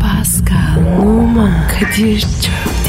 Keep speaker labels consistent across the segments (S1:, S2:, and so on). S1: Pascal, Oman, Kadir çok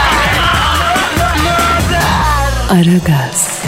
S1: Aragaz,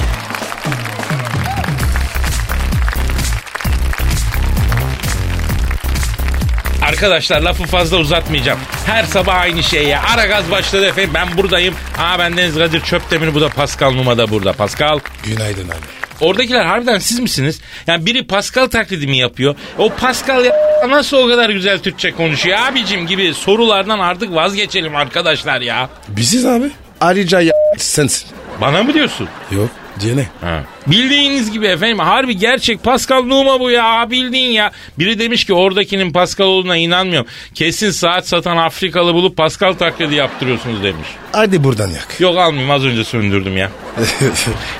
S2: Arkadaşlar lafı fazla uzatmayacağım. Her sabah aynı şey ya. Ara gaz başladı efendim. Ben buradayım. Aa ben Deniz Kadir Çöptemir. Bu da Pascal Numa da burada. Pascal.
S3: Günaydın abi.
S2: Oradakiler harbiden siz misiniz? Yani biri Pascal taklidi mi yapıyor? O Pascal ya- nasıl o kadar güzel Türkçe konuşuyor abicim gibi sorulardan artık vazgeçelim arkadaşlar ya.
S3: Biziz abi. Ayrıca ya sensin.
S2: Bana mı diyorsun?
S3: Yok diyene.
S2: Ha. Bildiğiniz gibi efendim harbi gerçek Pascal Numa bu ya bildiğin ya. Biri demiş ki oradakinin Pascal olduğuna inanmıyorum. Kesin saat satan Afrikalı bulup Pascal taklidi yaptırıyorsunuz demiş.
S3: Hadi buradan yak.
S2: Yok almayayım az önce söndürdüm ya.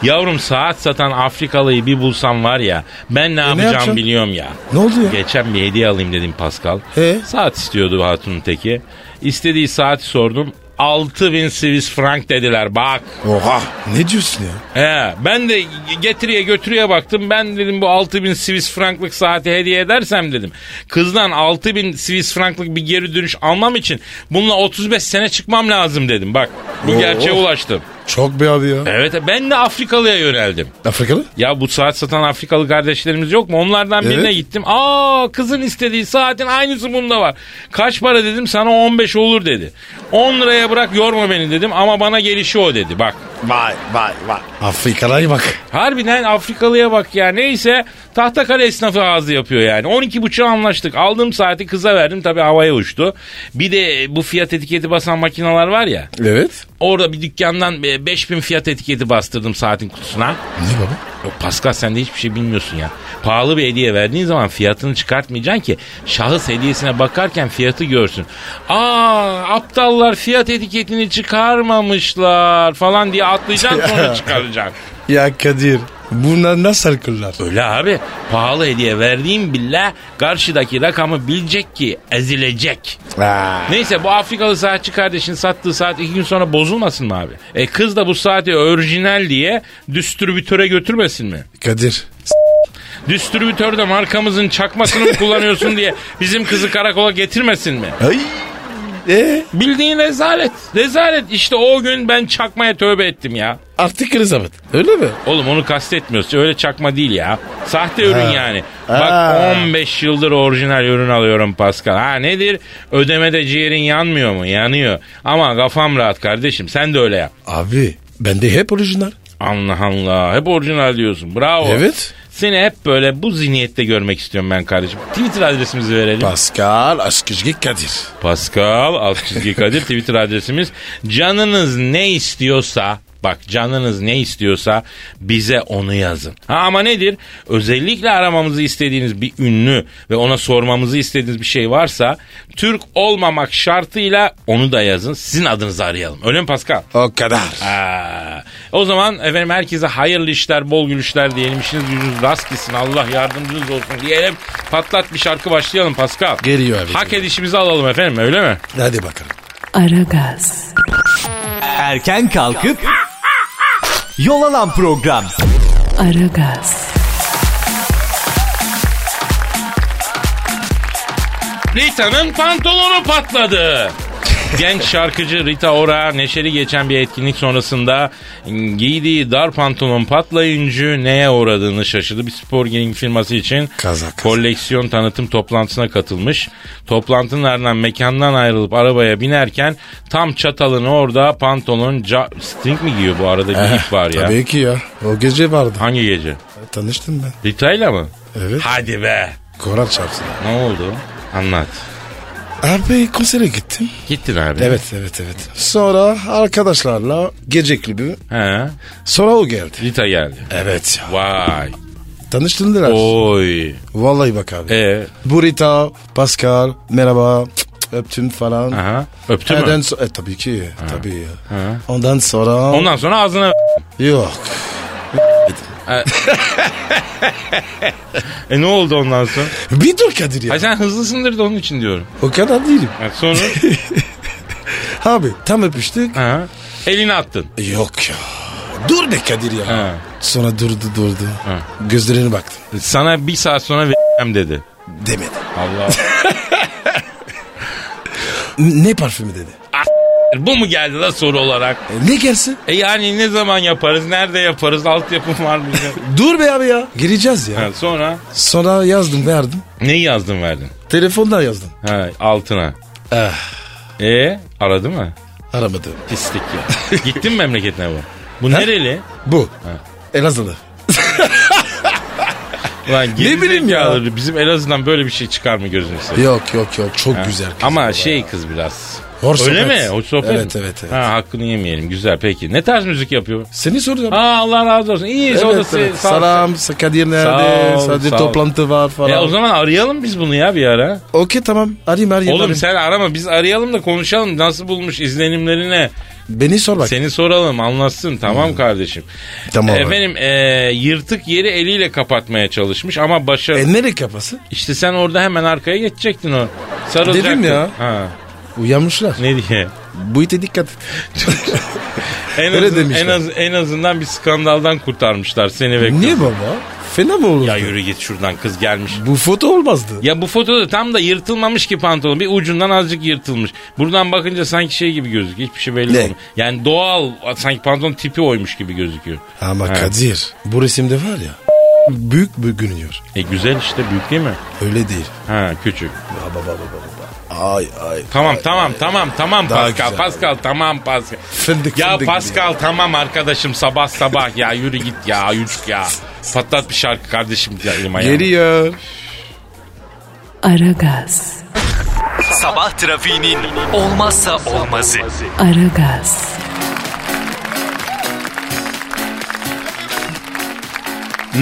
S2: Yavrum saat satan Afrikalıyı bir bulsam var ya ben ne yapacağım
S3: yapacaksın?
S2: biliyorum ya.
S3: Ne oldu ya?
S2: Geçen bir hediye alayım dedim Pascal.
S3: Ee?
S2: Saat istiyordu hatunun teki. İstediği saati sordum. 6000 Swiss frank dediler bak.
S3: Oha. Ne diyorsun ya?
S2: He, ben de getiriye götürüye baktım. Ben dedim bu 6000 Swiss franklık saati hediye edersem dedim. Kızdan 6000 Swiss franklık bir geri dönüş almam için bununla 35 sene çıkmam lazım dedim. Bak bu
S3: Oo.
S2: gerçeğe ulaştım.
S3: Çok be abi ya.
S2: Evet ben de Afrikalı'ya yöneldim.
S3: Afrikalı?
S2: Ya bu saat satan Afrikalı kardeşlerimiz yok mu? Onlardan birine
S3: Evet.
S2: gittim. Aa kızın istediği saatin aynısı bunda var. Kaç para dedim sana 15 olur dedi. 10 liraya bırak yorma beni dedim ama bana gelişi o dedi bak.
S3: Vay vay vay. Afrikalı'ya bak.
S2: Harbiden Afrikalı'ya bak ya. Neyse Tahtakale esnafı ağzı yapıyor yani. 12 buçuğa anlaştık. Aldığım saati kıza verdim. Tabii havaya uçtu. Bir de bu fiyat etiketi basan makineler var ya.
S3: Evet.
S2: Orada bir dükkandan e, 5000 fiyat etiketi bastırdım saatin kutusuna.
S3: Ne baba?
S2: Yok Pascal sen de hiçbir şey bilmiyorsun ya. Pahalı bir hediye verdiğin zaman fiyatını çıkartmayacaksın ki şahıs hediyesine bakarken fiyatı görsün. Aa aptallar fiyat etiketini çıkarmamışlar falan diye atlayacaksın sonra çıkaracaksın.
S3: Ya Kadir. Bunlar nasıl akıllar?
S2: Öyle abi. Pahalı hediye verdiğim bile karşıdaki rakamı bilecek ki ezilecek.
S3: Aa,
S2: Neyse bu Afrikalı saatçi kardeşin sattığı saat iki gün sonra bozulmasın mı abi? E kız da bu saati orijinal diye distribütöre götürmesin mi?
S3: Kadir.
S2: Distribütör de markamızın çakmasını mı kullanıyorsun diye bizim kızı karakola getirmesin mi?
S3: Ay. E
S2: Bildiğin rezalet. Rezalet. İşte o gün ben çakmaya tövbe ettim ya.
S3: artık Elizabeth. Öyle mi?
S2: Oğlum onu kastetmiyoruz. Öyle çakma değil ya. Sahte ürün yani. Bak
S3: Ha.
S2: 15 yıldır orijinal ürün alıyorum Pascal. Ha nedir? Ödemede ciğerin yanmıyor mu? Yanıyor. Ama kafam rahat kardeşim. Sen de öyle yap.
S3: Abi bende hep orijinal.
S2: Allah Allah. Hep orijinal diyorsun. Bravo.
S3: Evet.
S2: Seni hep böyle bu zihniyette görmek istiyorum ben kardeşim. Twitter adresimizi verelim.
S3: Pascal Askışgi Kadir.
S2: Pascal alt çizgi Kadir Twitter adresimiz. Canınız ne istiyorsa bak canınız ne istiyorsa bize onu yazın. Ha ama nedir? Özellikle aramamızı istediğiniz bir ünlü ve ona sormamızı istediğiniz bir şey varsa Türk olmamak şartıyla onu da yazın. Sizin adınızı arayalım. Öyle mi Pascal?
S3: O kadar.
S2: Ha. O zaman efendim herkese hayırlı işler, bol gülüşler diyelim. İşiniz gücünüz rast gitsin. Allah yardımcınız olsun diyelim. Patlat bir şarkı başlayalım Pascal.
S3: Geliyor abi.
S2: Hak edişimizi alalım efendim öyle mi?
S3: Hadi bakalım.
S1: Aragaz,
S4: Erken kalkıp yol alan program.
S1: Aragaz,
S2: Rita'nın pantolonu patladı. Genç şarkıcı Rita Ora neşeli geçen bir etkinlik sonrasında giydiği dar pantolon patlayınca neye uğradığını şaşırdı. Bir spor giyim firması için
S3: Kaza, kaza.
S2: koleksiyon tanıtım toplantısına katılmış. Toplantının ardından mekandan ayrılıp arabaya binerken tam çatalını orada pantolon ca- string mi giyiyor bu arada bir ip var ya.
S3: Eh, Tabii ki ya. O gece vardı.
S2: Hangi gece?
S3: Tanıştım ben.
S2: Rita'yla mı?
S3: Evet.
S2: Hadi be.
S3: Koran çarpsın.
S2: Ne oldu? Anlat.
S3: Abi konsere gittim.
S2: Gittin abi.
S3: Evet evet evet. Sonra arkadaşlarla gece kulübü.
S2: He.
S3: Sonra o geldi.
S2: Rita geldi.
S3: Evet ya.
S2: Vay.
S3: Tanıştırdılar.
S2: Oy.
S3: Vallahi bak abi.
S2: E
S3: Burita, Pascal, merhaba. Cık, cık. öptüm falan.
S2: Aha. Öptü
S3: Neden
S2: mü?
S3: so- e, tabii ki. Tabii. Ondan sonra...
S2: Ondan sonra ağzına
S3: Yok.
S2: E ne oldu ondan sonra?
S3: Bir dur Kadir ya.
S2: Ay sen hızlısındır da onun için diyorum.
S3: O kadar değilim.
S2: Ha, sonra?
S3: Abi tam öpüştük.
S2: Aha. Elini attın.
S3: Yok ya. Dur be Kadir ya.
S2: Ha.
S3: Sonra durdu durdu. Gözlerine baktım.
S2: Sana bir saat sonra vereceğim dedi.
S3: Demedi.
S2: Allah.
S3: N- Ne parfümü dedi.
S2: Bu mu geldi la soru olarak?
S3: E, ne gelsin?
S2: E yani ne zaman yaparız? Nerede yaparız? Altyapım var mı?
S3: Dur be abi ya. Gireceğiz ya.
S2: ha, sonra
S3: Sonra yazdım verdim.
S2: neyi yazdın verdin?
S3: Telefonda yazdım.
S2: Ha, altına.
S3: Ah,
S2: E aradı mı?
S3: aramadım.
S2: Pislik ya. Gittin mi memleketine bu? Bu nereli?
S3: Bu. Elazığlı.
S2: Lan geri
S3: Ne bileyim ya.
S2: zekalı, Bizim Elazığ'dan böyle bir şey çıkar mı gözünü seveyim?
S3: Yok yok yok çok
S2: Ha.
S3: güzel. kız.
S2: Ama şey kız biraz.
S3: Hoş
S2: Öyle
S3: sohbet.
S2: mi? Hoş sohbet
S3: Evet,
S2: mi?
S3: evet, evet.
S2: Ha, hakkını yemeyelim. Güzel peki. Ne tarz müzik yapıyor?
S3: Seni soruyorum.
S2: Aa Allah razı olsun. İyi
S3: Evet,
S2: odası.
S3: evet.
S2: sağ-
S3: Salam, Kadir
S2: Sağ
S3: nerede?
S2: ol,
S3: Sadece
S2: sağ ol.
S3: toplantı var falan.
S2: Ya o zaman arayalım biz bunu ya bir ara.
S3: Okey tamam. Arayayım arayayım.
S2: Oğlum
S3: arayayım.
S2: sen arama biz arayalım da konuşalım. Nasıl bulmuş izlenimlerine?
S3: Beni sor bak. Hmm.
S2: Seni soralım anlatsın tamam kardeşim.
S3: Tamam.
S2: Efendim e, yırtık yeri eliyle kapatmaya çalışmış ama başarılı.
S3: E nereye kafası?
S2: işte sen orada hemen arkaya geçecektin o. Sarılacaktın.
S3: Dedim ya.
S2: Ha,
S3: Uyanmışlar.
S2: ne diye.
S3: Bu ite dikkat et.
S2: En,
S3: Öyle
S2: azın-
S3: demişler.
S2: en, az, en azından bir skandaldan kurtarmışlar seni ve
S3: Niye
S2: kızı.
S3: baba? Fena mı olur?
S2: Ya yürü git şuradan kız gelmiş.
S3: Bu foto olmazdı.
S2: Ya bu fotoda tam da yırtılmamış ki pantolon. Bir ucundan azıcık yırtılmış. Buradan bakınca sanki şey gibi gözüküyor. Hiçbir şey belli
S3: Ne?
S2: olmuyor. Yani doğal sanki pantolon tipi oymuş gibi gözüküyor.
S3: Ama
S2: Ha.
S3: Kadir bu resimde var ya büyük bir görünüyor.
S2: E güzel işte büyük değil mi?
S3: Öyle değil.
S2: Ha küçük.
S3: Baba baba baba. Ay ay.
S2: Tamam tamam tamam tamam
S3: Daha
S2: Pascal
S3: güzel.
S2: Pascal tamam Pascal.
S3: Fındık,
S2: ya
S3: fındık gibi
S2: Pascal tamam arkadaşım sabah sabah ya yürü git ya yürü ya. Patlat bir şarkı kardeşim ya elime ya.
S3: Geliyor.
S1: Aragaz,
S4: Sabah trafiğinin olmazsa olmazı.
S1: Aragaz,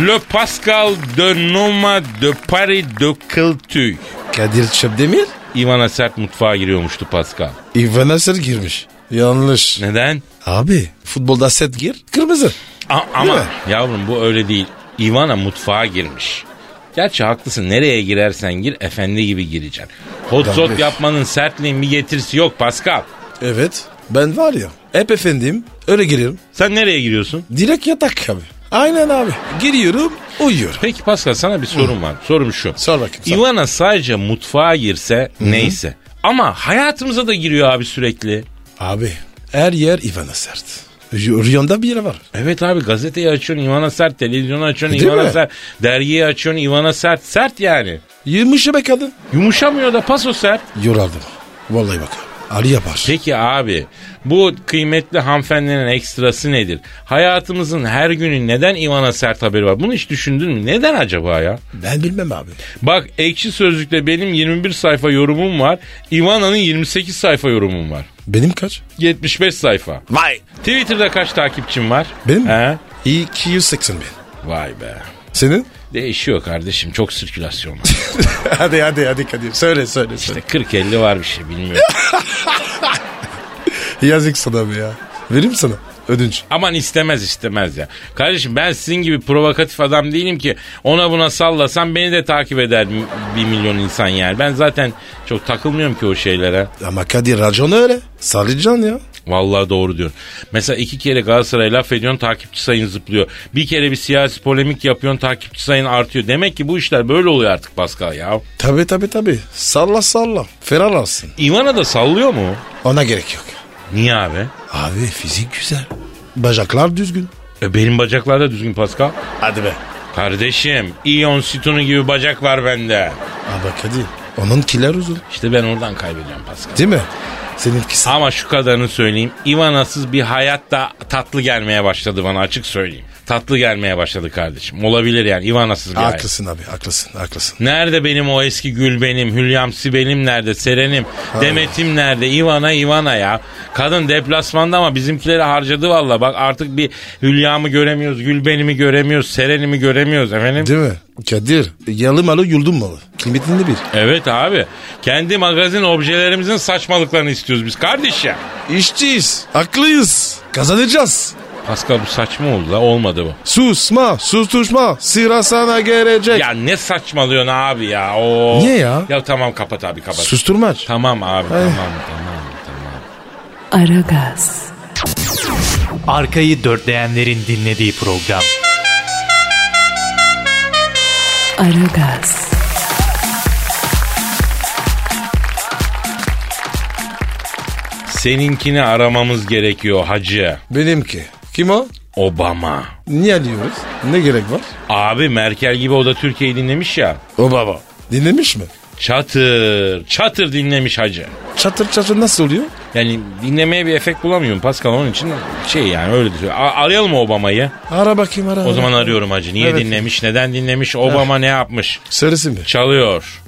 S2: Le Pascal de Noma de Paris de Culture.
S3: Kadir Çöpdemir
S2: Ivana Sert mutfağa giriyormuştu Pascal.
S3: İvan Aser girmiş. Yanlış.
S2: Neden?
S3: Abi futbolda set gir kırmızı.
S2: A- ama
S3: mi?
S2: yavrum bu öyle değil. Ivana mutfağa girmiş. Gerçi haklısın nereye girersen gir efendi gibi gireceksin. Hot
S3: Tabii.
S2: shot yapmanın sertliğin bir getirisi yok Pascal.
S3: Evet ben var ya hep efendim öyle giriyorum.
S2: Sen nereye giriyorsun?
S3: Direkt yatak abi. Aynen abi. Giriyorum uyuyorum.
S2: Peki Pascal sana bir sorum var. Sorum şu.
S3: Sor bakayım. sor.
S2: Ivana sadece mutfağa girse neyse. Ama hayatımıza da giriyor abi sürekli.
S3: Abi her yer İvan Asert. Rüyanda bir yere var.
S2: Evet abi gazeteyi açıyorsun Ivana Sert, televizyonu açıyorsun
S3: E, Değil
S2: Ivana
S3: mi?
S2: Sert, dergiyi açıyorsun Ivana Sert. Sert yani.
S3: Yılmışı be kadın.
S2: Yumuşamıyor da paso sert.
S3: Yoraldım. Vallahi bak. Ali yapar.
S2: Peki abi bu kıymetli hanımefendinin ekstrası nedir? Hayatımızın her günü neden Ivana Sert haberi var? Bunu hiç düşündün mü? Neden acaba ya?
S3: Ben bilmem abi.
S2: Bak ekşi sözlükte benim 21 sayfa yorumum var. Ivana'nın 28 sayfa yorumum var.
S3: Benim kaç?
S2: 75 sayfa.
S3: Vay.
S2: Twitter'da kaç takipçim var?
S3: Benim mi?
S2: He?
S3: 280 bin.
S2: Vay be.
S3: Senin?
S2: Değişiyor kardeşim çok sirkülasyon var.
S3: hadi hadi hadi Kadir. Söyle söyle
S2: İşte 40-50 E, var bir şey bilmiyorum.
S3: Yazık sana be ya. Vereyim sana ödünç.
S2: Aman istemez istemez ya. Kardeşim ben sizin gibi provokatif adam değilim ki ona buna sallasam beni de takip eder mi- bir milyon insan yani. Ben zaten çok takılmıyorum ki o şeylere.
S3: Ama Kadir racon öyle. Sarıcan ya.
S2: Vallahi doğru diyorsun. Mesela iki kere Galatasaray'a laf ediyorsun takipçi sayın zıplıyor. Bir kere bir siyasi polemik yapıyorsun takipçi sayın artıyor. Demek ki bu işler böyle oluyor artık Pascal ya.
S3: Tabi tabi tabi. Salla salla. Ferah alsın.
S2: Ivana da sallıyor mu?
S3: Ona gerek yok.
S2: Niye abi?
S3: Abi fizik güzel. Bacaklar düzgün.
S2: E benim bacaklar da düzgün Pascal.
S3: Hadi be.
S2: Kardeşim İyon Situnu gibi bacak var bende.
S3: Ama Kadir onun kiler uzun.
S2: İşte ben oradan kaybedeceğim Pascal.
S3: Değil mi? Seninkisi.
S2: Ama şu kadarını söyleyeyim. Ivana'sız bir hayat da tatlı gelmeye başladı bana açık söyleyeyim. tatlı gelmeye başladı kardeşim. Olabilir yani Ivana'sız bir aile.
S3: Haklısın abi haklısın haklısın.
S2: Nerede benim o eski gül benim, Hülyam Sibel'im nerede, Seren'im, Demet'im nerede, Ivana Ivana ya. Kadın deplasmanda ama bizimkileri harcadı valla. Bak artık bir Hülya'mı göremiyoruz, Gülben'imi göremiyoruz, Seren'imi göremiyoruz efendim.
S3: Değil mi? Kadir yalı malı yuldum malı. Kıymetini bil.
S2: Evet abi. Kendi magazin objelerimizin saçmalıklarını istiyoruz biz kardeş ya.
S3: İşçiyiz. Haklıyız. Kazanacağız.
S2: Pascal bu saçma oldu la olmadı bu.
S3: Susma, sustuşma. Sıra sana gelecek.
S2: Ya ne saçmalıyorsun abi ya? Oo.
S3: Niye ya? Eh.
S2: Ya tamam kapat abi kapat.
S3: Susturmaç.
S2: Tamam abi
S3: Ay.
S2: tamam tamam tamam.
S1: Aragaz,
S4: Arkayı dörtleyenlerin dinlediği program.
S1: Aragaz,
S2: Seninkini aramamız gerekiyor hacı.
S3: Benimki. Kim o?
S2: Obama.
S3: Niye alıyoruz? Ne gerek var?
S2: Abi Merkel gibi o da Türkiye'yi dinlemiş ya.
S3: O baba. Dinlemiş mi?
S2: Çatır, çatır dinlemiş hacı.
S3: Çatır çatır nasıl oluyor?
S2: Yani dinlemeye bir efekt bulamıyorum Pascal onun için şey yani öyle diyor. A- arayalım Obama'yı.
S3: Ara bakayım ara.
S2: O zaman arıyorum hacı. Niye
S3: Evet. Eh.
S2: dinlemiş, neden dinlemiş, Obama ne yapmış?
S3: Söylesin mi?
S2: Çalıyor.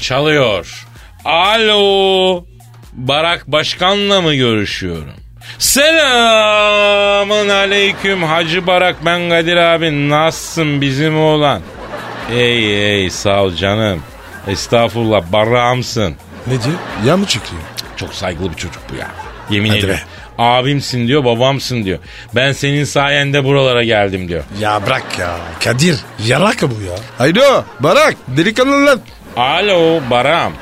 S2: Çalıyor. Alo. Barak Başkan'la mı görüşüyorum? Selamın aleyküm Hacı Barak ben Kadir abi nasılsın bizim oğlan? Ey ey sağ ol canım. Estağfurullah barağımsın.
S3: Ne diyor? Ya mı çıkıyor?
S2: Çok saygılı bir çocuk bu ya. Yemin
S3: Hadi
S2: ediyorum. Abimsin diyor babamsın diyor. Ben senin sayende buralara geldim diyor.
S3: Ya bırak ya. Kadir yaraka bu ya. Haydo Barak delikanlı lan.
S2: Alo Baram.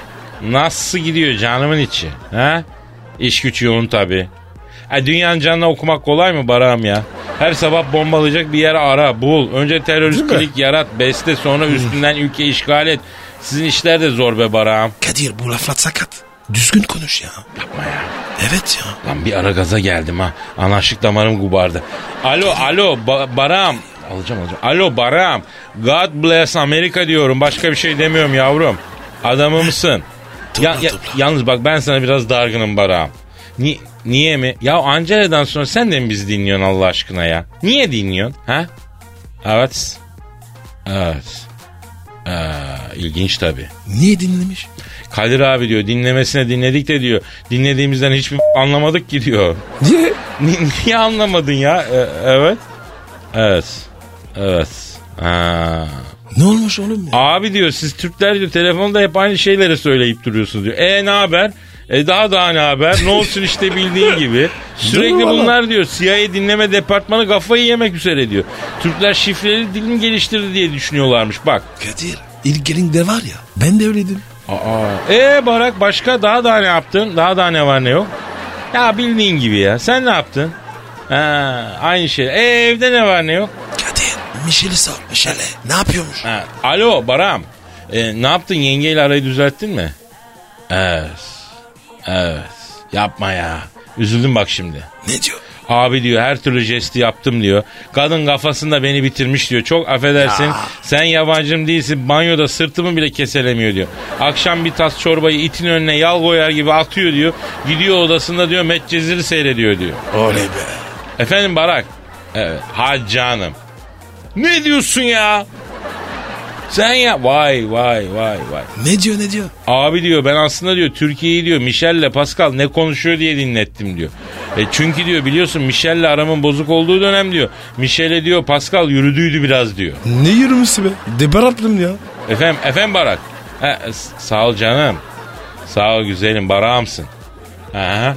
S2: Nasıl gidiyor canımın içi? Ha? İş güç yoğun tabi. E, dünyanın canına okumak kolay mı Baram ya? Her sabah bombalayacak bir yer ara, bul. Önce terörist
S3: Değil mi?
S2: klik yarat, beste sonra üstünden ülke işgal et. Sizin işler de zor be Baram.
S3: Kadir bu laflar sakat. Düzgün konuş ya.
S2: Yapma ya.
S3: Evet ya.
S2: Lan bir ara gaza geldim ha. Anarşik damarım gubardı. Alo alo ba- Baram. Alacağım alacağım. Alo Baram. God bless Amerika diyorum. Başka bir şey demiyorum yavrum. Adamı mısın? Ya- ya- yalnız bak ben sana biraz dargınım Baram. Ni- niye mi? Ya Angela'dan sonra sen de mi bizi dinliyorsun Allah aşkına ya? Niye dinliyorsun? Ha? Evet. Evet. Ee, ilginç tabii.
S3: Niye dinlemiş?
S2: Kadir abi diyor dinlemesine dinledik de diyor. Dinlediğimizden hiçbir anlamadık ki diyor.
S3: Niye?
S2: Ni- niye anlamadın ya? E- evet. Evet. Evet. Ha.
S3: Ne olmuş oğlum ya?
S2: Abi diyor siz Türkler diyor telefonda hep aynı şeyleri söyleyip duruyorsunuz diyor. E ne haber? E daha daha ne haber? Ne olsun işte bildiğin gibi. Sürekli
S3: Doğru valla.
S2: bunlar diyor CIA dinleme departmanı kafayı yemek üzere diyor. Türkler şifreli dilim geliştirdi diye düşünüyorlarmış bak.
S3: Kadir ilk de var ya ben de öyleydim.
S2: Aa. E Barak başka daha daha ne yaptın? Daha daha ne var ne yok? Ya bildiğin gibi ya. Sen ne yaptın? Ha, aynı şey. E evde ne var ne yok?
S3: Kadir Michel'i sor Michel'e ne yapıyormuş?
S2: Ha, alo Baram. E, ne yaptın yengeyle arayı düzelttin mi? Evet. Evet. Yapma ya. Üzüldüm bak şimdi.
S3: Ne diyor?
S2: Abi diyor her türlü jesti yaptım diyor. Kadın kafasında beni bitirmiş diyor. Çok affedersin sen yabancım değilsin banyoda sırtımı bile keselemiyor diyor. Akşam bir tas çorbayı itin önüne yal koyar gibi atıyor diyor. Gidiyor odasında diyor Medcezir'i seyrediyor diyor.
S3: Oley be.
S2: Efendim Barak. Evet. Ha canım. Ne diyorsun ya? Sen ya vay vay vay vay.
S3: Ne diyor ne diyor?
S2: Abi diyor ben aslında diyor Türkiye'yi diyor Michel'le Pascal ne konuşuyor diye dinlettim diyor. E çünkü diyor biliyorsun Michel'le aramın bozuk olduğu dönem diyor. Michel'e diyor Pascal yürüdüydü biraz diyor.
S3: Ne yürümüşsü be? Deber yaptım ya.
S2: Efendim, efendim Barak. Ha, s- sağ ol canım. Sağ ol güzelim Barak'ımsın. Aha.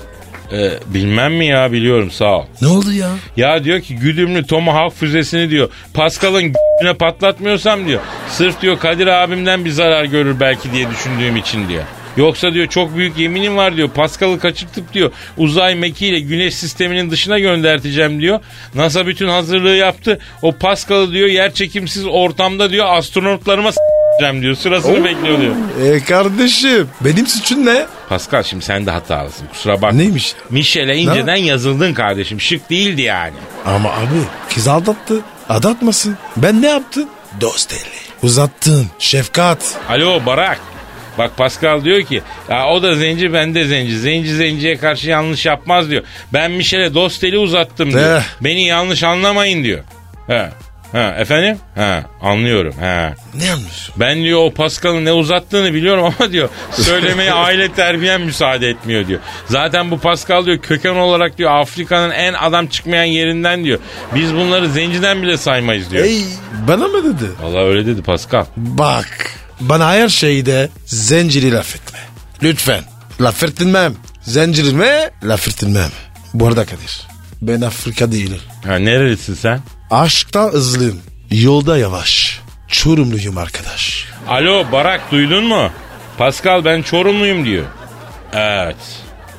S2: E, bilmem mi ya biliyorum sağ ol.
S3: Ne oldu ya?
S2: Ya diyor ki güdümlü Tomahawk füzesini diyor. Pascal'ın g***üne patlatmıyorsam diyor. Sırf diyor Kadir abimden bir zarar görür belki diye düşündüğüm için diyor. Yoksa diyor çok büyük yeminim var diyor. Pascal'ı kaçırtıp diyor uzay mekiğiyle güneş sisteminin dışına gönderteceğim diyor. NASA bütün hazırlığı yaptı. O Pascal'ı diyor yer çekimsiz ortamda diyor astronotlarıma s**eceğim diyor. Sırasını bekliyor diyor.
S3: E kardeşim benim suçum ne?
S2: Pascal şimdi sen de hatalısın kusura bakma.
S3: Neymiş?
S2: Michel'e inceden yazıldın kardeşim. Şık değildi yani.
S3: Ama abi kız aldattı. Aldatmasın. Ben ne yaptım? Dost eli. Uzattın. Şefkat.
S2: Alo Barak. Bak Pascal diyor ki ya o da zenci ben de zenci. Zenci zenciye karşı yanlış yapmaz diyor. Ben Michel'e dost eli uzattım diyor.
S3: Eh.
S2: Beni yanlış anlamayın diyor. He. Ha, efendim? Ha, anlıyorum. Ha.
S3: Ne anlıyorsun?
S2: Ben diyor o Pascal'ın ne uzattığını biliyorum ama diyor söylemeye aile terbiyem müsaade etmiyor diyor. Zaten bu Pascal diyor köken olarak diyor Afrika'nın en adam çıkmayan yerinden diyor. Biz bunları zenciden bile saymayız diyor.
S3: Ey bana mı dedi?
S2: Vallahi öyle dedi Pascal.
S3: Bak bana her şeyde zenciri laf etme. Lütfen. Laf ettirmem. Zencirime laf ettirmem. Bu arada Kadir ben Afrika değilim.
S2: Ha, nerelisin sen?
S3: Aşkta hızlıyım. Yolda yavaş. Çorumluyum arkadaş.
S2: Alo Barak duydun mu? Pascal ben Çorumluyum diyor. Evet.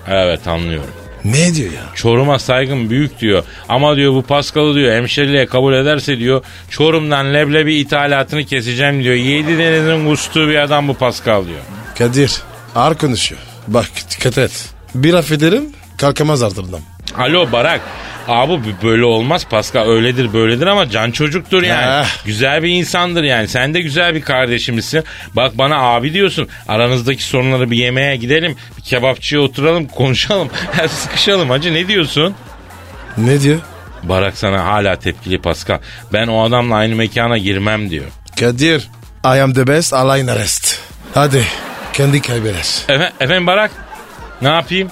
S2: Evet anlıyorum.
S3: Ne diyor ya?
S2: Çorum'a saygım büyük diyor. Ama diyor bu Paskal'ı diyor hemşeriliğe kabul ederse diyor Çorum'dan leblebi ithalatını keseceğim diyor. Yedi denizin kustuğu bir adam bu Paskal diyor.
S3: Kadir ağır konuşuyor. Bak dikkat et. Bir laf ederim kalkamaz ardından.
S2: Alo Barak. Abi bu böyle olmaz Pascal öyledir böyledir ama can çocuktur yani.
S3: Eh.
S2: Güzel bir insandır yani. Sen de güzel bir kardeşimizsin. Bak bana abi diyorsun. Aranızdaki sorunları bir yemeğe gidelim. Bir kebapçıya oturalım konuşalım. Sıkışalım hacı ne diyorsun?
S3: Ne diyor?
S2: Barak sana hala tepkili Pascal. Ben o adamla aynı mekana girmem diyor.
S3: Kadir I am the best align arrest. Hadi kendi kaybeder.
S2: Efe, efendim Barak ne yapayım?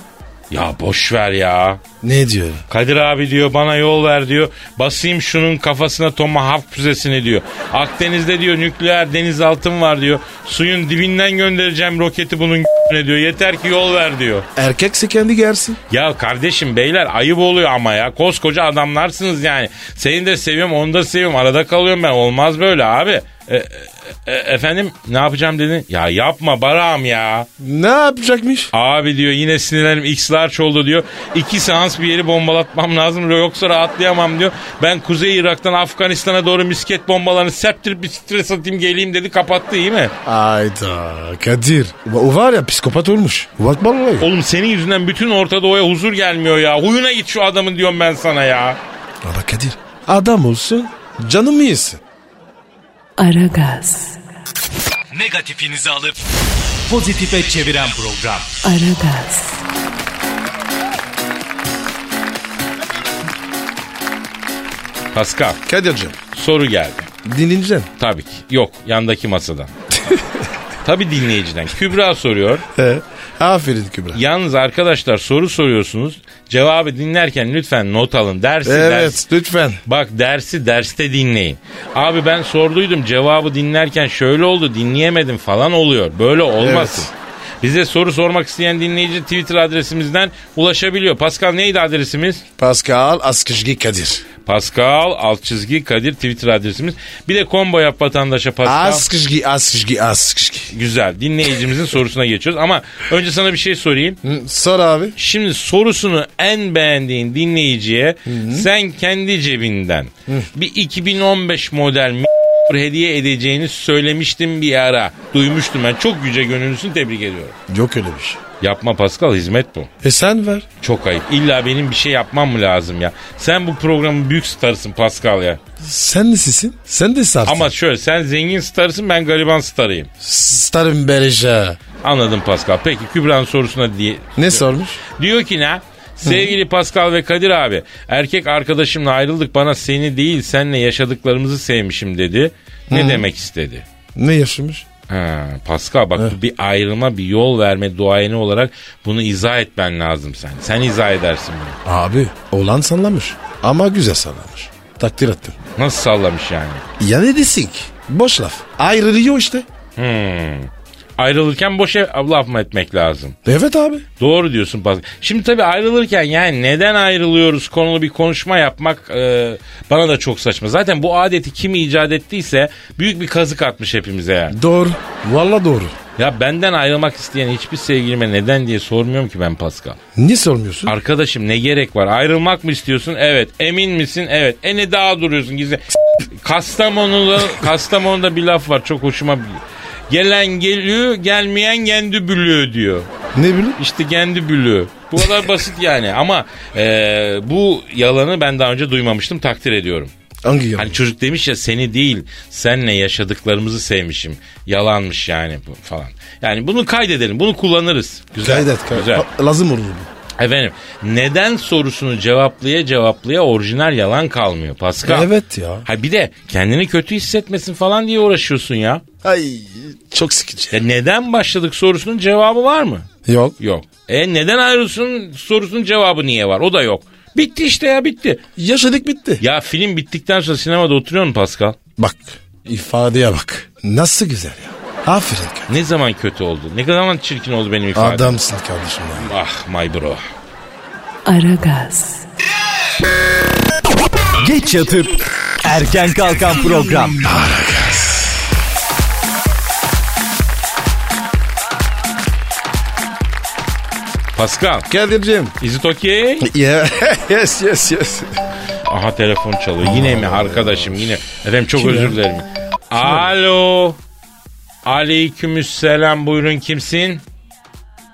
S2: Ya boş ver ya.
S3: Ne diyor?
S2: Kadir abi diyor bana yol ver diyor. Basayım şunun kafasına tomahawk füzesini diyor. Akdeniz'de diyor nükleer denizaltım var diyor. Suyun dibinden göndereceğim roketi bunun ne diyor. Yeter ki yol ver diyor.
S3: Erkekse kendi gelsin.
S2: Ya kardeşim beyler ayıp oluyor ama ya. Koskoca adamlarsınız yani. Seni de seviyorum onu da seviyorum. Arada kalıyorum ben. Olmaz böyle abi. E, e, e, efendim ne yapacağım dedin? Ya yapma Barak'ım ya.
S3: Ne yapacakmış?
S2: Abi diyor yine sinirlerim x large oldu diyor. İki seans bir yeri bombalatmam lazım diyor. yoksa rahatlayamam diyor. Ben Kuzey Irak'tan Afganistan'a doğru misket bombalarını serptirip bir stres atayım geleyim dedi kapattı iyi mi?
S3: Ayda Kadir. O var ya psikopat olmuş. Bak vallahi.
S2: Oğlum senin yüzünden bütün Orta Doğu'ya huzur gelmiyor ya. Huyuna git şu adamın diyorum ben sana ya.
S3: Ama Kadir adam olsun canım iyisin.
S1: Aragaz,
S4: Negatifinizi alıp pozitife çeviren program.
S1: Aragaz,
S2: Pascal
S3: Kadir'cim
S2: soru geldi.
S3: dinleyeceksin.
S2: Tabii ki. Yok yandaki masadan. Tabii dinleyiciden. Kübra soruyor.
S3: He. Aferin Kübra.
S2: Yalnız arkadaşlar soru soruyorsunuz. Cevabı dinlerken lütfen not alın. Dersi ders
S3: evet lütfen.
S2: Bak dersi derste dinleyin. Abi ben sorduydum cevabı dinlerken şöyle oldu dinleyemedim falan oluyor. Böyle olmasın.
S3: Evet.
S2: Bize soru sormak isteyen dinleyici Twitter adresimizden ulaşabiliyor. Pascal neydi adresimiz?
S3: Pascal Askışgi Kadir.
S2: Pascal alt çizgi Kadir Twitter adresimiz. Bir de combo yap vatandaşa Pascal.
S3: Askışgi Askışgi Askışgi.
S2: Güzel dinleyicimizin sorusuna geçiyoruz ama önce sana bir şey sorayım.
S3: Hı, Sor abi.
S2: Şimdi sorusunu en beğendiğin dinleyiciye sen kendi cebinden bir 2015 model mi- hediye edeceğini söylemiştim bir ara. Duymuştum ben. Çok yüce gönüllüsün tebrik ediyorum.
S3: Yok öyle bir şey.
S2: Yapma Pascal hizmet bu.
S3: E sen ver.
S2: Çok ayıp. İlla benim bir şey yapmam mı lazım ya? Sen bu programın büyük starısın Pascal ya.
S3: Sen nesisin? Sen de sarsın.
S2: Ama şöyle sen zengin starsın ben gariban starıyım.
S3: Starım Bereşe.
S2: Anladım Pascal. Peki Kübra'nın sorusuna diye
S3: Ne sormuş?
S2: Diyor ki ne? Sevgili Pascal ve Kadir abi erkek arkadaşımla ayrıldık bana seni değil senle yaşadıklarımızı sevmişim dedi. Ne demek istedi?
S3: Ne yaşamış?
S2: Ha, Pascal bak bu bir ayrılma bir yol verme duayeni olarak bunu izah etmen lazım sen. Sen izah edersin bunu.
S3: Abi olan sallamış. Ama güzel sallamış. Takdir ettim.
S2: Nasıl sallamış yani?
S3: Ya ne desin ki? Boş laf. Ayrılıyor işte.
S2: Ayrılırken boş ev- laf mı etmek lazım?
S3: Evet abi.
S2: Doğru diyorsun Pascal. Şimdi tabii ayrılırken yani neden ayrılıyoruz konulu bir konuşma yapmak e, bana da çok saçma. Zaten bu adeti kim icat ettiyse büyük bir kazık atmış hepimize yani.
S3: Doğru. Valla doğru.
S2: Ya benden ayrılmak isteyen hiçbir sevgilime neden diye sormuyorum ki ben Pascal.
S3: Niye sormuyorsun?
S2: Arkadaşım ne gerek var? Ayrılmak mı istiyorsun? Evet. Emin misin? Evet. E ne daha duruyorsun gizli? Kastamonu'da, Kastamonu'da bir laf var çok hoşuma gidiyor. Gelen geliyor, gelmeyen kendi bülüyor diyor.
S3: ne bileyim?
S2: İşte kendi bülüyor. Bu kadar basit yani ama e, bu yalanı ben daha önce duymamıştım takdir ediyorum.
S3: Hangi yalan?
S2: Hani çocuk demiş ya seni değil senle yaşadıklarımızı sevmişim. Yalanmış yani bu falan. Yani bunu kaydedelim bunu kullanırız. Güzel.
S3: Kaydet kaydet.
S2: Güzel.
S3: Lazım olur bu.
S2: Efendim neden sorusunu cevaplaya cevaplaya orijinal yalan kalmıyor Pascal.
S3: Evet ya.
S2: Ha bir de kendini kötü hissetmesin falan diye uğraşıyorsun ya.
S3: Ay çok sıkıcı.
S2: Ya neden başladık sorusunun cevabı var mı?
S3: Yok.
S2: Yok. E neden ayrılsın sorusunun cevabı niye var? O da yok. Bitti işte ya bitti.
S3: Yaşadık bitti.
S2: Ya film bittikten sonra sinemada oturuyor mu Pascal?
S3: Bak ifadeye bak. Nasıl güzel ya. Aferin kardeşim.
S2: Ne zaman kötü oldu? Ne zaman çirkin oldu benim ifadem?
S3: Adamsın kardeşim ya.
S2: Ah my bro.
S1: Aragaz,
S4: Geç yatıp erken kalkan program.
S2: Pascal,
S3: Kadir'cim.
S2: is it okay?
S3: Yeah. yes yes yes.
S2: Aha telefon çalıyor. Yine mi arkadaşım yine? Efendim çok özür dilerim. Alo. Aleykümselam buyurun kimsin?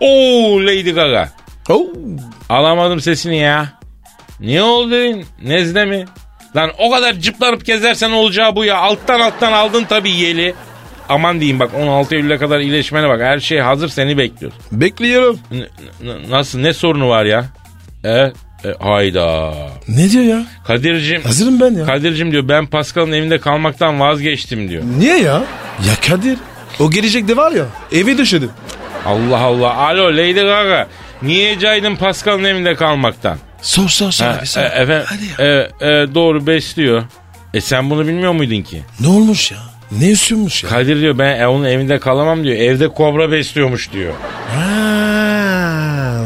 S2: Oo Lady Gaga.
S3: Oh.
S2: Alamadım sesini ya. Ne oldu? Nezle mi? Lan o kadar cıplanıp gezersen olacağı bu ya. Alttan alttan aldın tabii yeli. Aman diyeyim bak 16 Eylül'e kadar iyileşmene bak. Her şey hazır seni bekliyor.
S3: Bekliyorum.
S2: N- n- nasıl ne sorunu var ya? E, e, hayda.
S3: Ne diyor ya?
S2: Kadir'cim.
S3: Hazırım ben ya.
S2: Kadir'cim diyor ben Pascal'ın evinde kalmaktan vazgeçtim diyor.
S3: Niye ya? Ya Kadir. O gelecek de var ya. Evi düşürdüm.
S2: Allah Allah. Alo Lady Gaga. Niye caydın Pascal'ın evinde kalmaktan?
S3: Sor sor sor.
S2: Ha,
S3: abi,
S2: e,
S3: sor.
S2: efendim,
S3: Hadi ya.
S2: e, e, doğru besliyor. E sen bunu bilmiyor muydun ki?
S3: Ne olmuş ya? Ne üsünmüş ya?
S2: Kadir diyor ben e, onun evinde kalamam diyor. Evde kobra besliyormuş diyor.
S3: Ha.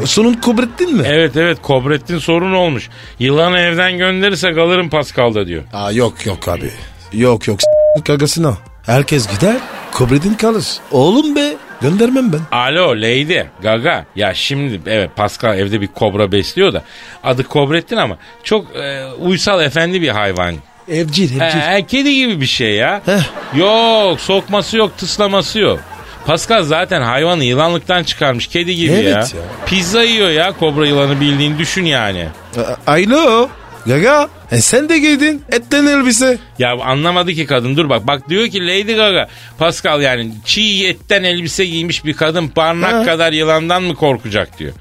S3: Sonun kubrettin mi?
S2: Evet evet Kobrettin sorun olmuş. Yılanı evden gönderirse kalırım Pascal'da diyor.
S3: Aa, yok yok abi. Yok yok s**in kagasına. Herkes gider. Kubrettin kalır. Oğlum be. Göndermem ben.
S2: Alo Lady Gaga ya şimdi evet Pascal evde bir kobra besliyor da adı Kobrettin ama çok e, uysal efendi bir hayvan.
S3: Evcil
S2: E,
S3: evcil.
S2: e, kedi gibi bir şey ya.
S3: Heh.
S2: Yok sokması yok tıslaması yok. Pascal zaten hayvanı yılanlıktan çıkarmış kedi gibi
S3: Evet
S2: ya.
S3: ya.
S2: Pizza yiyor ya kobra yılanı bildiğin düşün yani.
S3: A- Alo. Gaga. E sen de giydin. Etten elbise.
S2: Ya anlamadı ki kadın dur bak. Bak diyor ki Lady Gaga Pascal yani çiğ etten elbise giymiş bir kadın parmak
S3: Ha.
S2: kadar yılandan mı korkacak diyor.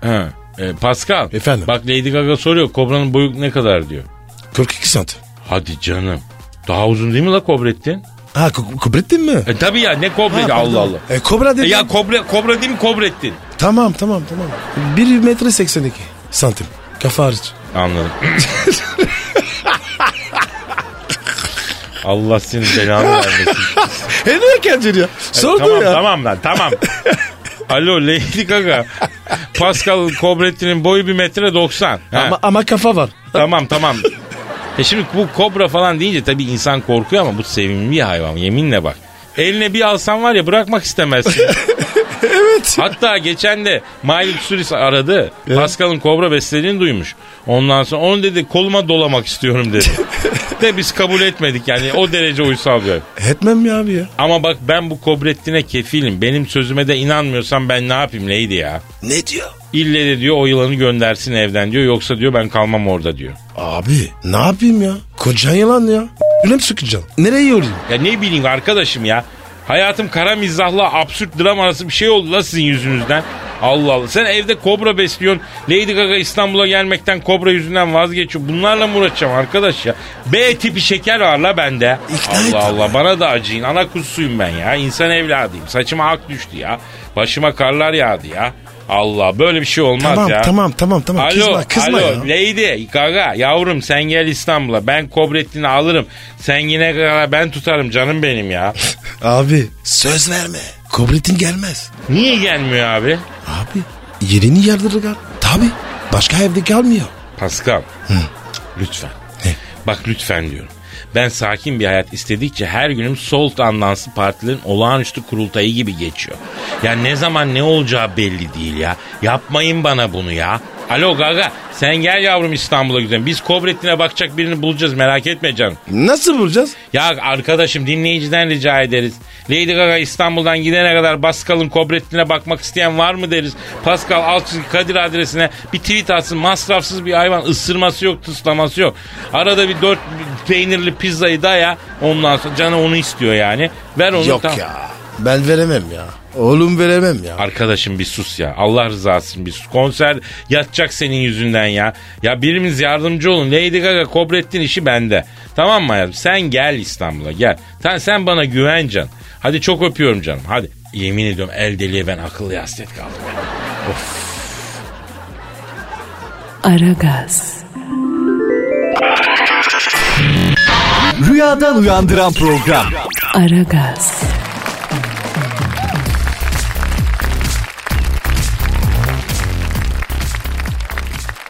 S2: Ha. E, Pascal.
S3: Efendim?
S2: Bak Lady Gaga soruyor kobranın boyu ne kadar diyor.
S3: 42 santim.
S2: Hadi canım. Daha uzun değil mi la Kobrettin?
S3: Ha ku- kubrettin mi?
S2: E tabi ya ne Kobrettin Allah Allah.
S3: E kobra
S2: E,
S3: dedim.
S2: ya kobra, kobra değil mi Kobrettin?
S3: Tamam tamam tamam. 1 metre 82 santim. Kafa hariç.
S2: Anladım. Allah senin belanı vermesin.
S3: E niye kendini ya? Sordu
S2: tamam,
S3: ya.
S2: Tamam lan tamam. Alo Lady Gaga. Pascal Kobrettin'in boyu bir metre 90. Ha,
S3: Ama, ama kafa var.
S2: Tamam tamam. E şimdi bu kobra falan deyince tabii insan korkuyor ama bu sevimli bir hayvan yeminle bak. Eline bir alsan var ya bırakmak istemezsin.
S3: Evet.
S2: Hatta geçen de Miley Cyrus aradı. Pascal'ın kobra beslediğini duymuş. Ondan sonra onu dedi koluma dolamak istiyorum dedi. de biz kabul etmedik yani o derece uysal bir.
S3: Etmem ya abi ya.
S2: Ama bak ben bu Kobrettin'e kefilim. Benim sözüme de inanmıyorsan ben ne yapayım Lady ya?
S3: Ne diyor?
S2: İlle de diyor o yılanı göndersin evden diyor. Yoksa diyor ben kalmam orada diyor.
S3: Abi ne yapayım ya? Kocan yılan ya. Öyle mi sıkacağım? Nereye yorayım?
S2: Ya ne bileyim arkadaşım ya. Hayatım kara mizahla absürt dram arası bir şey oldu la sizin yüzünüzden. Allah Allah. Sen evde kobra besliyorsun. Lady Gaga İstanbul'a gelmekten kobra yüzünden vazgeçiyor. Bunlarla mı uğraşacağım arkadaş ya? B tipi şeker var la bende.
S3: İkna et
S2: Allah
S3: ama.
S2: Allah bana da acıyın. Ana kuzusuyum ben ya. İnsan evladıyım. Saçıma ak düştü ya. Başıma karlar yağdı ya. Allah böyle bir şey olmaz
S3: Tamam
S2: ya.
S3: tamam tamam tamam. kızma kızma
S2: alo,
S3: ya.
S2: Lady, gaga, yavrum sen gel İstanbul'a. Ben Kobrettin'i alırım. Sen yine gaga ben tutarım canım benim ya.
S3: Abi söz verme. Kobretin gelmez.
S2: Niye gelmiyor abi?
S3: Abi yerini yardırırlar. Tabi. Başka evde kalmıyor.
S2: Pascal. Lütfen. Bak lütfen diyorum. Ben sakin bir hayat istedikçe her günüm sol tandanslı partilerin olağanüstü kurultayı gibi geçiyor. Ya ne zaman ne olacağı belli değil ya. Yapmayın bana bunu ya. Alo Gaga sen gel yavrum İstanbul'a güzelim. Biz Kobrettin'e bakacak birini bulacağız merak etme canım.
S3: Nasıl bulacağız?
S2: Ya arkadaşım dinleyiciden rica ederiz. Lady Gaga İstanbul'dan gidene kadar Pascal'ın kobretine bakmak isteyen var mı deriz. Pascal alt çizgi Kadir adresine bir tweet atsın. Masrafsız bir hayvan ısırması yok tıslaması yok. Arada bir dört peynirli pizzayı daya ondan sonra canı onu istiyor yani. Ver onu
S3: Yok
S2: tam-
S3: ya. Ben veremem ya. Oğlum veremem ya.
S2: Arkadaşım bir sus ya. Allah rızası için bir sus. Konser yatacak senin yüzünden ya. Ya birimiz yardımcı olun. Lady Gaga Kobrettin işi bende. Tamam mı hayatım? Sen gel İstanbul'a gel. Sen, sen bana güven can. Hadi çok öpüyorum canım. Hadi. Yemin ediyorum el deliye ben akıllı hasret kaldım.
S1: Aragaz,
S4: Rüyadan uyandıran program.
S1: Aragaz,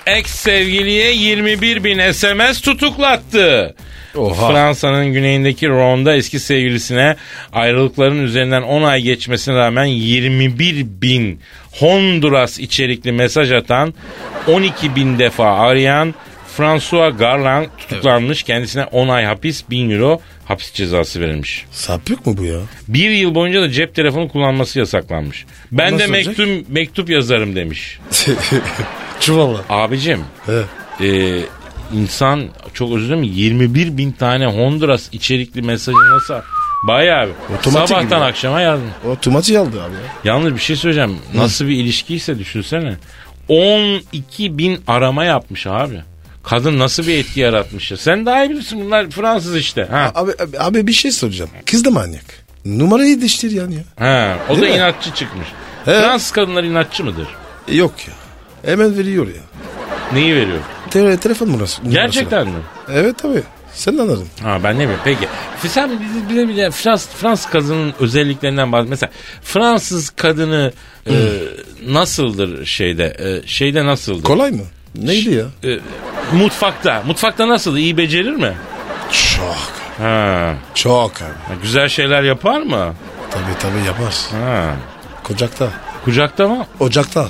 S2: Ex sevgiliye 21 bin SMS tutuklattı.
S3: Oha.
S2: Fransa'nın güneyindeki Ronda eski sevgilisine ayrılıkların üzerinden 10 ay geçmesine rağmen 21 bin Honduras içerikli mesaj atan 12 bin defa arayan François Garland tutuklanmış. Kendisine 10 ay hapis 1000 euro hapis cezası verilmiş.
S3: Sapık mı bu ya?
S2: Bir yıl boyunca da cep telefonu kullanması yasaklanmış. Ben de
S3: Nasıl olacak?
S2: mektup, mektup yazarım demiş.
S3: Çuvalla.
S2: Abicim
S3: He.
S2: ee, insan çok özür dilerim 21 bin tane Honduras içerikli mesajı nasıl Bayağı abi.
S3: Otomatik gibi
S2: Sabahtan
S3: ya.
S2: akşama yazdım.
S3: Otomatiği aldı abi ya.
S2: Yalnız bir şey söyleyeceğim. Nasıl bir ilişkiyse düşünsene. 12 bin arama yapmış abi. Kadın nasıl bir etki yaratmış ya. Sen daha iyi bilirsin bunlar Fransız işte. Ha,
S3: Abi, abi, abi bir şey soracağım. Kız da manyak. Numarayı değiştir yani ya.
S2: ha. O da
S3: Değil mi?
S2: inatçı çıkmış.
S3: He.
S2: Fransız kadınlar inatçı mıdır?
S3: E, Yok ya. Hemen veriyor ya.
S2: Neyi veriyor?
S3: Te- telefon numarası. numarası.
S2: Gerçekten mi?
S3: Evet tabii. Sen de anladın.
S2: Ha ben ne bileyim peki. Sen bize, bize, bize Frans, Fransız kadının özelliklerinden bahset. Mesela Fransız kadını e, nasıldır şeyde? E, şeyde nasıldır?
S3: Kolay mı? Neydi ya?
S2: E, mutfakta. Mutfakta nasıl? İyi becerir mi?
S3: Çok.
S2: Ha.
S3: Çok abi.
S2: Güzel şeyler yapar mı?
S3: Tabii tabii yapar.
S2: Ha.
S3: Kocakta.
S2: Kucakta mı?
S3: Ocakta.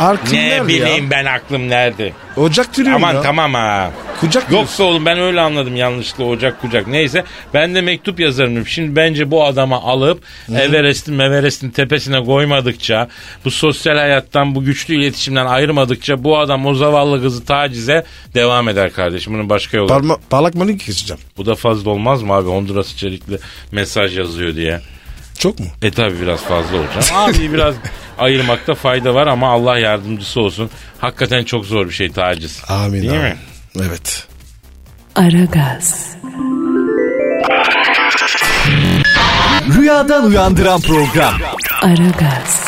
S3: Arkın
S2: Ne
S3: nerede
S2: bileyim
S3: ya?
S2: ben aklım nerede?
S3: Ocak türü
S2: Aman
S3: ya.
S2: tamam ha.
S3: Kucak
S2: Yoksa oğlum ben öyle anladım yanlışlıkla ocak kucak. Neyse ben de mektup yazarım. dedim. Şimdi bence bu adama alıp Everest'in Everest'in tepesine koymadıkça bu sosyal hayattan bu güçlü iletişimden ayırmadıkça bu adam o zavallı kızı tacize devam eder kardeşim. Bunun başka yolu. yok.
S3: Parma, parlak manik keseceğim.
S2: bu da fazla olmaz mı abi Honduras içerikli mesaj yazıyor diye.
S3: Çok mu?
S2: E tabi biraz fazla olacak. Abi biraz ayırmakta fayda var ama Allah yardımcısı olsun. Hakikaten çok zor bir şey taciz.
S3: Amin.
S2: Değil
S3: amin.
S2: mi?
S3: Evet.
S1: Aragaz,
S4: Rüyadan uyandıran program.
S1: Aragaz,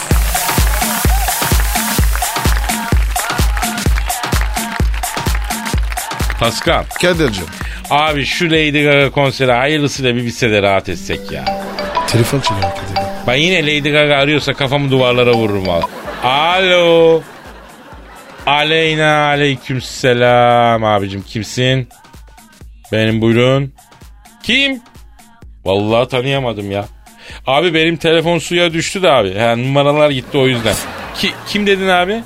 S2: Pascal.
S3: Kadir'cim.
S2: Abi şu Lady Gaga konseri hayırlısıyla bir bitse de rahat etsek ya.
S3: Telefon çalıyor Kadir.
S2: Ben yine Lady Gaga arıyorsa kafamı duvarlara vururum valla. Alo. Aleyna aleyküm selam abicim kimsin? Benim buyurun. Kim? Vallahi tanıyamadım ya. Abi benim telefon suya düştü de abi. Ha, numaralar gitti o yüzden. Ki, kim dedin abi?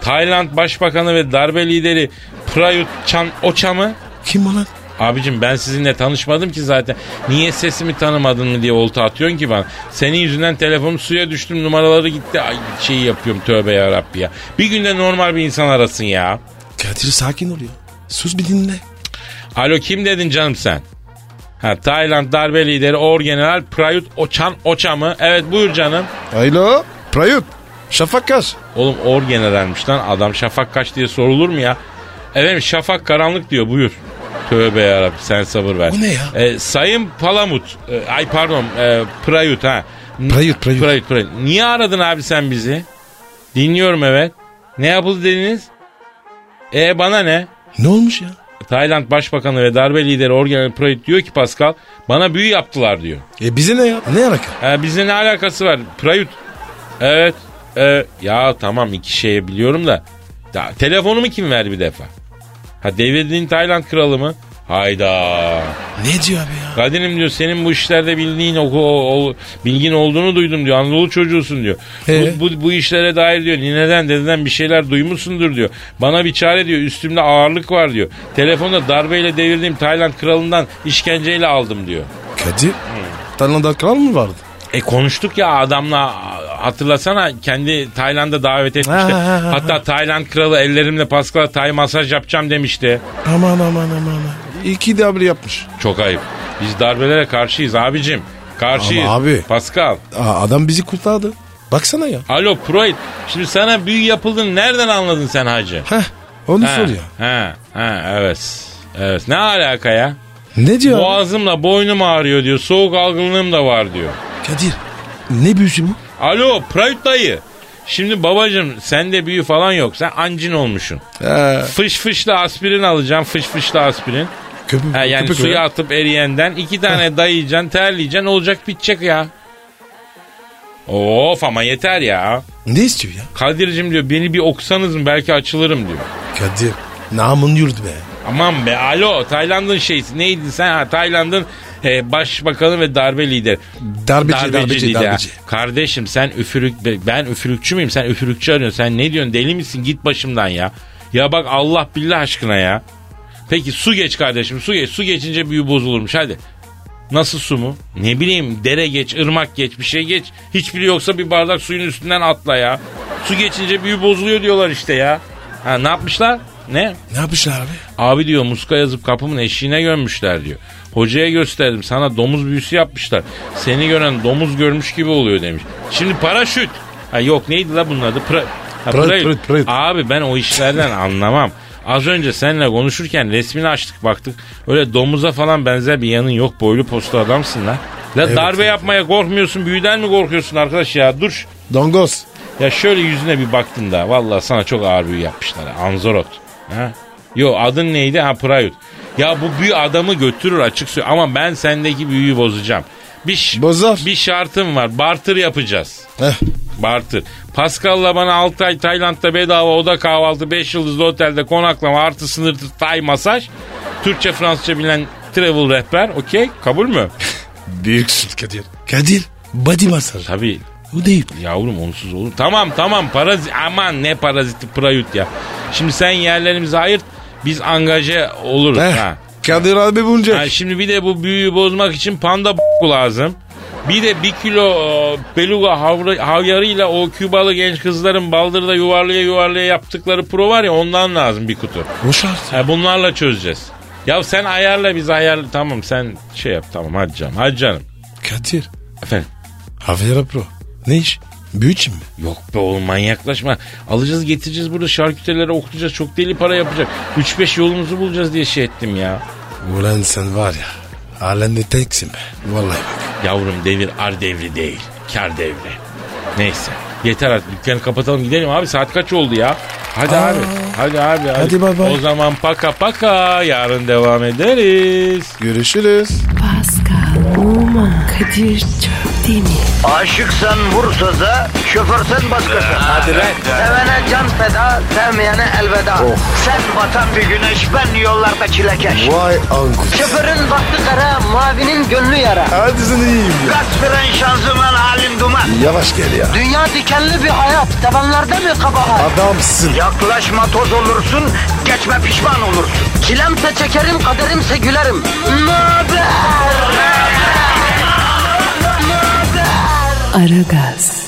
S2: Tayland Başbakanı ve darbe lideri Prayut Chan Ocha mı?
S3: Kim o lan?
S2: Abicim ben sizinle tanışmadım ki zaten. Niye sesimi tanımadın mı diye olta atıyorsun ki bana. Senin yüzünden telefonum suya düştüm numaraları gitti. Ay şeyi yapıyorum tövbe ya Rabbi ya. Bir günde normal bir insan arasın ya.
S3: Kadir sakin ol ya. Sus bir dinle.
S2: Alo kim dedin canım sen? Ha, Tayland darbe lideri Orgeneral Prayut Oçan Oça mı? Evet buyur canım.
S3: Alo. Prayut. Şafak Kaş.
S2: Oğlum Orgeneral'miş lan adam şafak kaç diye sorulur mu ya? Efendim şafak karanlık diyor buyur. Tövbe yarabbim sen sabır ver.
S3: Bu ne ya?
S2: Ee, Sayın Palamut, e, ay pardon e, Prayut ha. N-
S3: Prayut, Prayut.
S2: Prayut, Prayut. Niye aradın abi sen bizi? Dinliyorum evet. Ne yapıldı dediniz? E bana ne?
S3: Ne olmuş ya?
S2: Tayland Başbakanı ve darbe lideri Orgeneral Prayut diyor ki Pascal bana büyü yaptılar diyor.
S3: E bize ne ya? Ne alaka?
S2: Ha, bizle Ee, ne alakası var? Prayut. Evet. e, ya tamam iki şeyi biliyorum da. Ya, telefonumu kim verdi bir defa? Ha devirdiğin Tayland kralı mı? Hayda.
S3: Ne diyor abi ya?
S2: Kadir'im diyor senin bu işlerde bildiğin oku, o- o- bilgin olduğunu duydum diyor. Anadolu çocuğusun diyor.
S3: Ee?
S2: Bu, bu, bu işlere dair diyor nineden dededen bir şeyler duymuşsundur diyor. Bana bir çare diyor üstümde ağırlık var diyor. Telefonda darbeyle devirdiğim Tayland kralından işkenceyle aldım diyor.
S3: Kadir. Tanrı'da kral mı vardı?
S2: E konuştuk ya adamla hatırlasana kendi Tayland'a davet etmişti.
S3: Ha, ha, ha,
S2: Hatta Tayland kralı ellerimle Pascal'a Tay masaj yapacağım demişti.
S3: Aman aman aman. İki de abi yapmış.
S2: Çok ayıp. Biz darbelere karşıyız abicim. Karşıyız.
S3: Ama abi.
S2: Pascal.
S3: Aa, adam bizi kurtardı. Baksana ya.
S2: Alo Proil. Şimdi sana büyü yapıldın. Nereden anladın sen hacı?
S3: Heh, onu
S2: Ha,
S3: soruyor.
S2: Ha, ha, evet. Evet. Ne alaka ya?
S3: Ne diyor? abi?
S2: Boğazımla boynum ağrıyor diyor. Soğuk algınlığım da var diyor.
S3: Kadir ne büyüsü bu?
S2: Alo Proil dayı. Şimdi babacım sende büyü falan yok. Sen ancin olmuşsun.
S3: Ee,
S2: Fış fışla aspirin alacağım. Fış fışla aspirin.
S3: köpük,
S2: Ha, yani
S3: köpük
S2: suya
S3: ya.
S2: atıp eriyenden iki tane dayayacaksın, terleyeceksin olacak bitecek ya. Of ama yeter ya.
S3: Ne istiyor ya?
S2: Kadir'cim diyor beni bir oksanız mı belki açılırım diyor.
S3: Kadir namın yurdu be.
S2: Aman be alo Tayland'ın şeysi neydi sen ha Tayland'ın e, başbakanı ve darbe lideri.
S3: Darbeci, darbeci,
S2: lideri.
S3: darbeci.
S2: Kardeşim sen üfürük ben üfürükçü müyüm sen üfürükçü arıyorsun sen ne diyorsun deli misin git başımdan ya. Ya bak Allah billah aşkına ya. Peki su geç kardeşim su geç su geçince büyü bozulurmuş hadi. Nasıl su mu? Ne bileyim dere geç, ırmak geç, bir şey geç. Hiçbiri yoksa bir bardak suyun üstünden atla ya. Su geçince büyü bozuluyor diyorlar işte ya. Ha ne yapmışlar? Ne?
S3: Ne yapmışlar abi?
S2: Abi diyor muska yazıp kapımın eşiğine gömmüşler diyor. Hocaya gösterdim sana domuz büyüsü yapmışlar. Seni gören domuz görmüş gibi oluyor demiş. Şimdi paraşüt. Ha yok neydi la bunun adı? Pra- ha,
S3: Pırıl,
S2: pırıl.
S3: pırıl, pırıl.
S2: Abi ben o işlerden anlamam. Az önce seninle konuşurken resmini açtık baktık. Öyle domuza falan benzer bir yanın yok. Boylu postlu adamsın lan. La darbe yapmaya korkmuyorsun. Büyüden mi korkuyorsun arkadaş ya? Dur.
S3: Dongoz.
S2: Ya şöyle yüzüne bir baktın da vallahi sana çok ağır büyü yapmışlar. Anzorot. Ha? Yo adın neydi? Ha Prayut. Ya bu büyü adamı götürür açık söyle. Ama ben sendeki büyüyü bozacağım. Bir, ş-
S3: Bozar.
S2: bir şartım var. Bartır yapacağız.
S3: Heh,
S2: Bartır. Pascal'la bana 6 ay Tayland'da bedava oda kahvaltı, 5 yıldızlı otelde konaklama, artı sınırsız Tay masaj. Türkçe Fransızca bilen travel rehber. Okey kabul mü?
S3: büyüksün Kadir. Kadir body masaj.
S2: Tabii
S3: Bu değil.
S2: Yavrum onsuz olur. Tamam tamam parazit aman ne paraziti prayut ya. Şimdi sen yerlerimizi ayırt biz angaje oluruz
S3: Heh,
S2: ha.
S3: Kadir abi bunca.
S2: Ha, şimdi bir de bu büyüyü bozmak için panda b- lazım. Bir de bir kilo e, beluga havra, havyarıyla o Kübalı genç kızların baldırda yuvarlaya yuvarlaya yaptıkları pro var ya ondan lazım bir kutu.
S3: O şart.
S2: Ha, bunlarla çözeceğiz. Ya sen ayarla biz ayarla. Tamam sen şey yap tamam hadi canım hadi canım.
S3: Kadir.
S2: Efendim.
S3: Havera pro. Ne iş? Büyüçin mi?
S2: Yok be oğlum manyaklaşma. Alacağız getireceğiz burada şarküterilere okutacağız. Çok deli para yapacak. 3-5 yolumuzu bulacağız diye şey ettim ya.
S3: Ulan sen var ya. Alemde teksin be. Vallahi bak.
S2: Yavrum devir ar devri değil. Kar devri. Neyse. Yeter artık dükkanı kapatalım gidelim abi. Saat kaç oldu ya? Hadi
S3: Aa.
S2: abi. Hadi abi.
S3: Hadi bay bay.
S2: O zaman paka paka. Yarın devam ederiz.
S3: Görüşürüz.
S1: Pascal, Oman, Kadir çok değil mi?
S5: Aşıksan vursa da, şoförsen başkasın. Hadi Sevene can feda, sevmeyene elveda. Sen batan bir güneş, ben yollarda çilekeş.
S3: Vay anku.
S5: Şoförün baktı kara, mavinin gönlü yara.
S3: Hadi sen iyiyim ya.
S5: Kasperen şanzıman halin duman.
S3: Yavaş gel ya.
S5: Dünya dikenli bir hayat, sevenlerde mi kabahar?
S3: Adamsın.
S5: Yaklaşma toz olursun, geçme pişman olursun. Çilemse çekerim, kaderimse gülerim. Möber!
S1: Aragaz.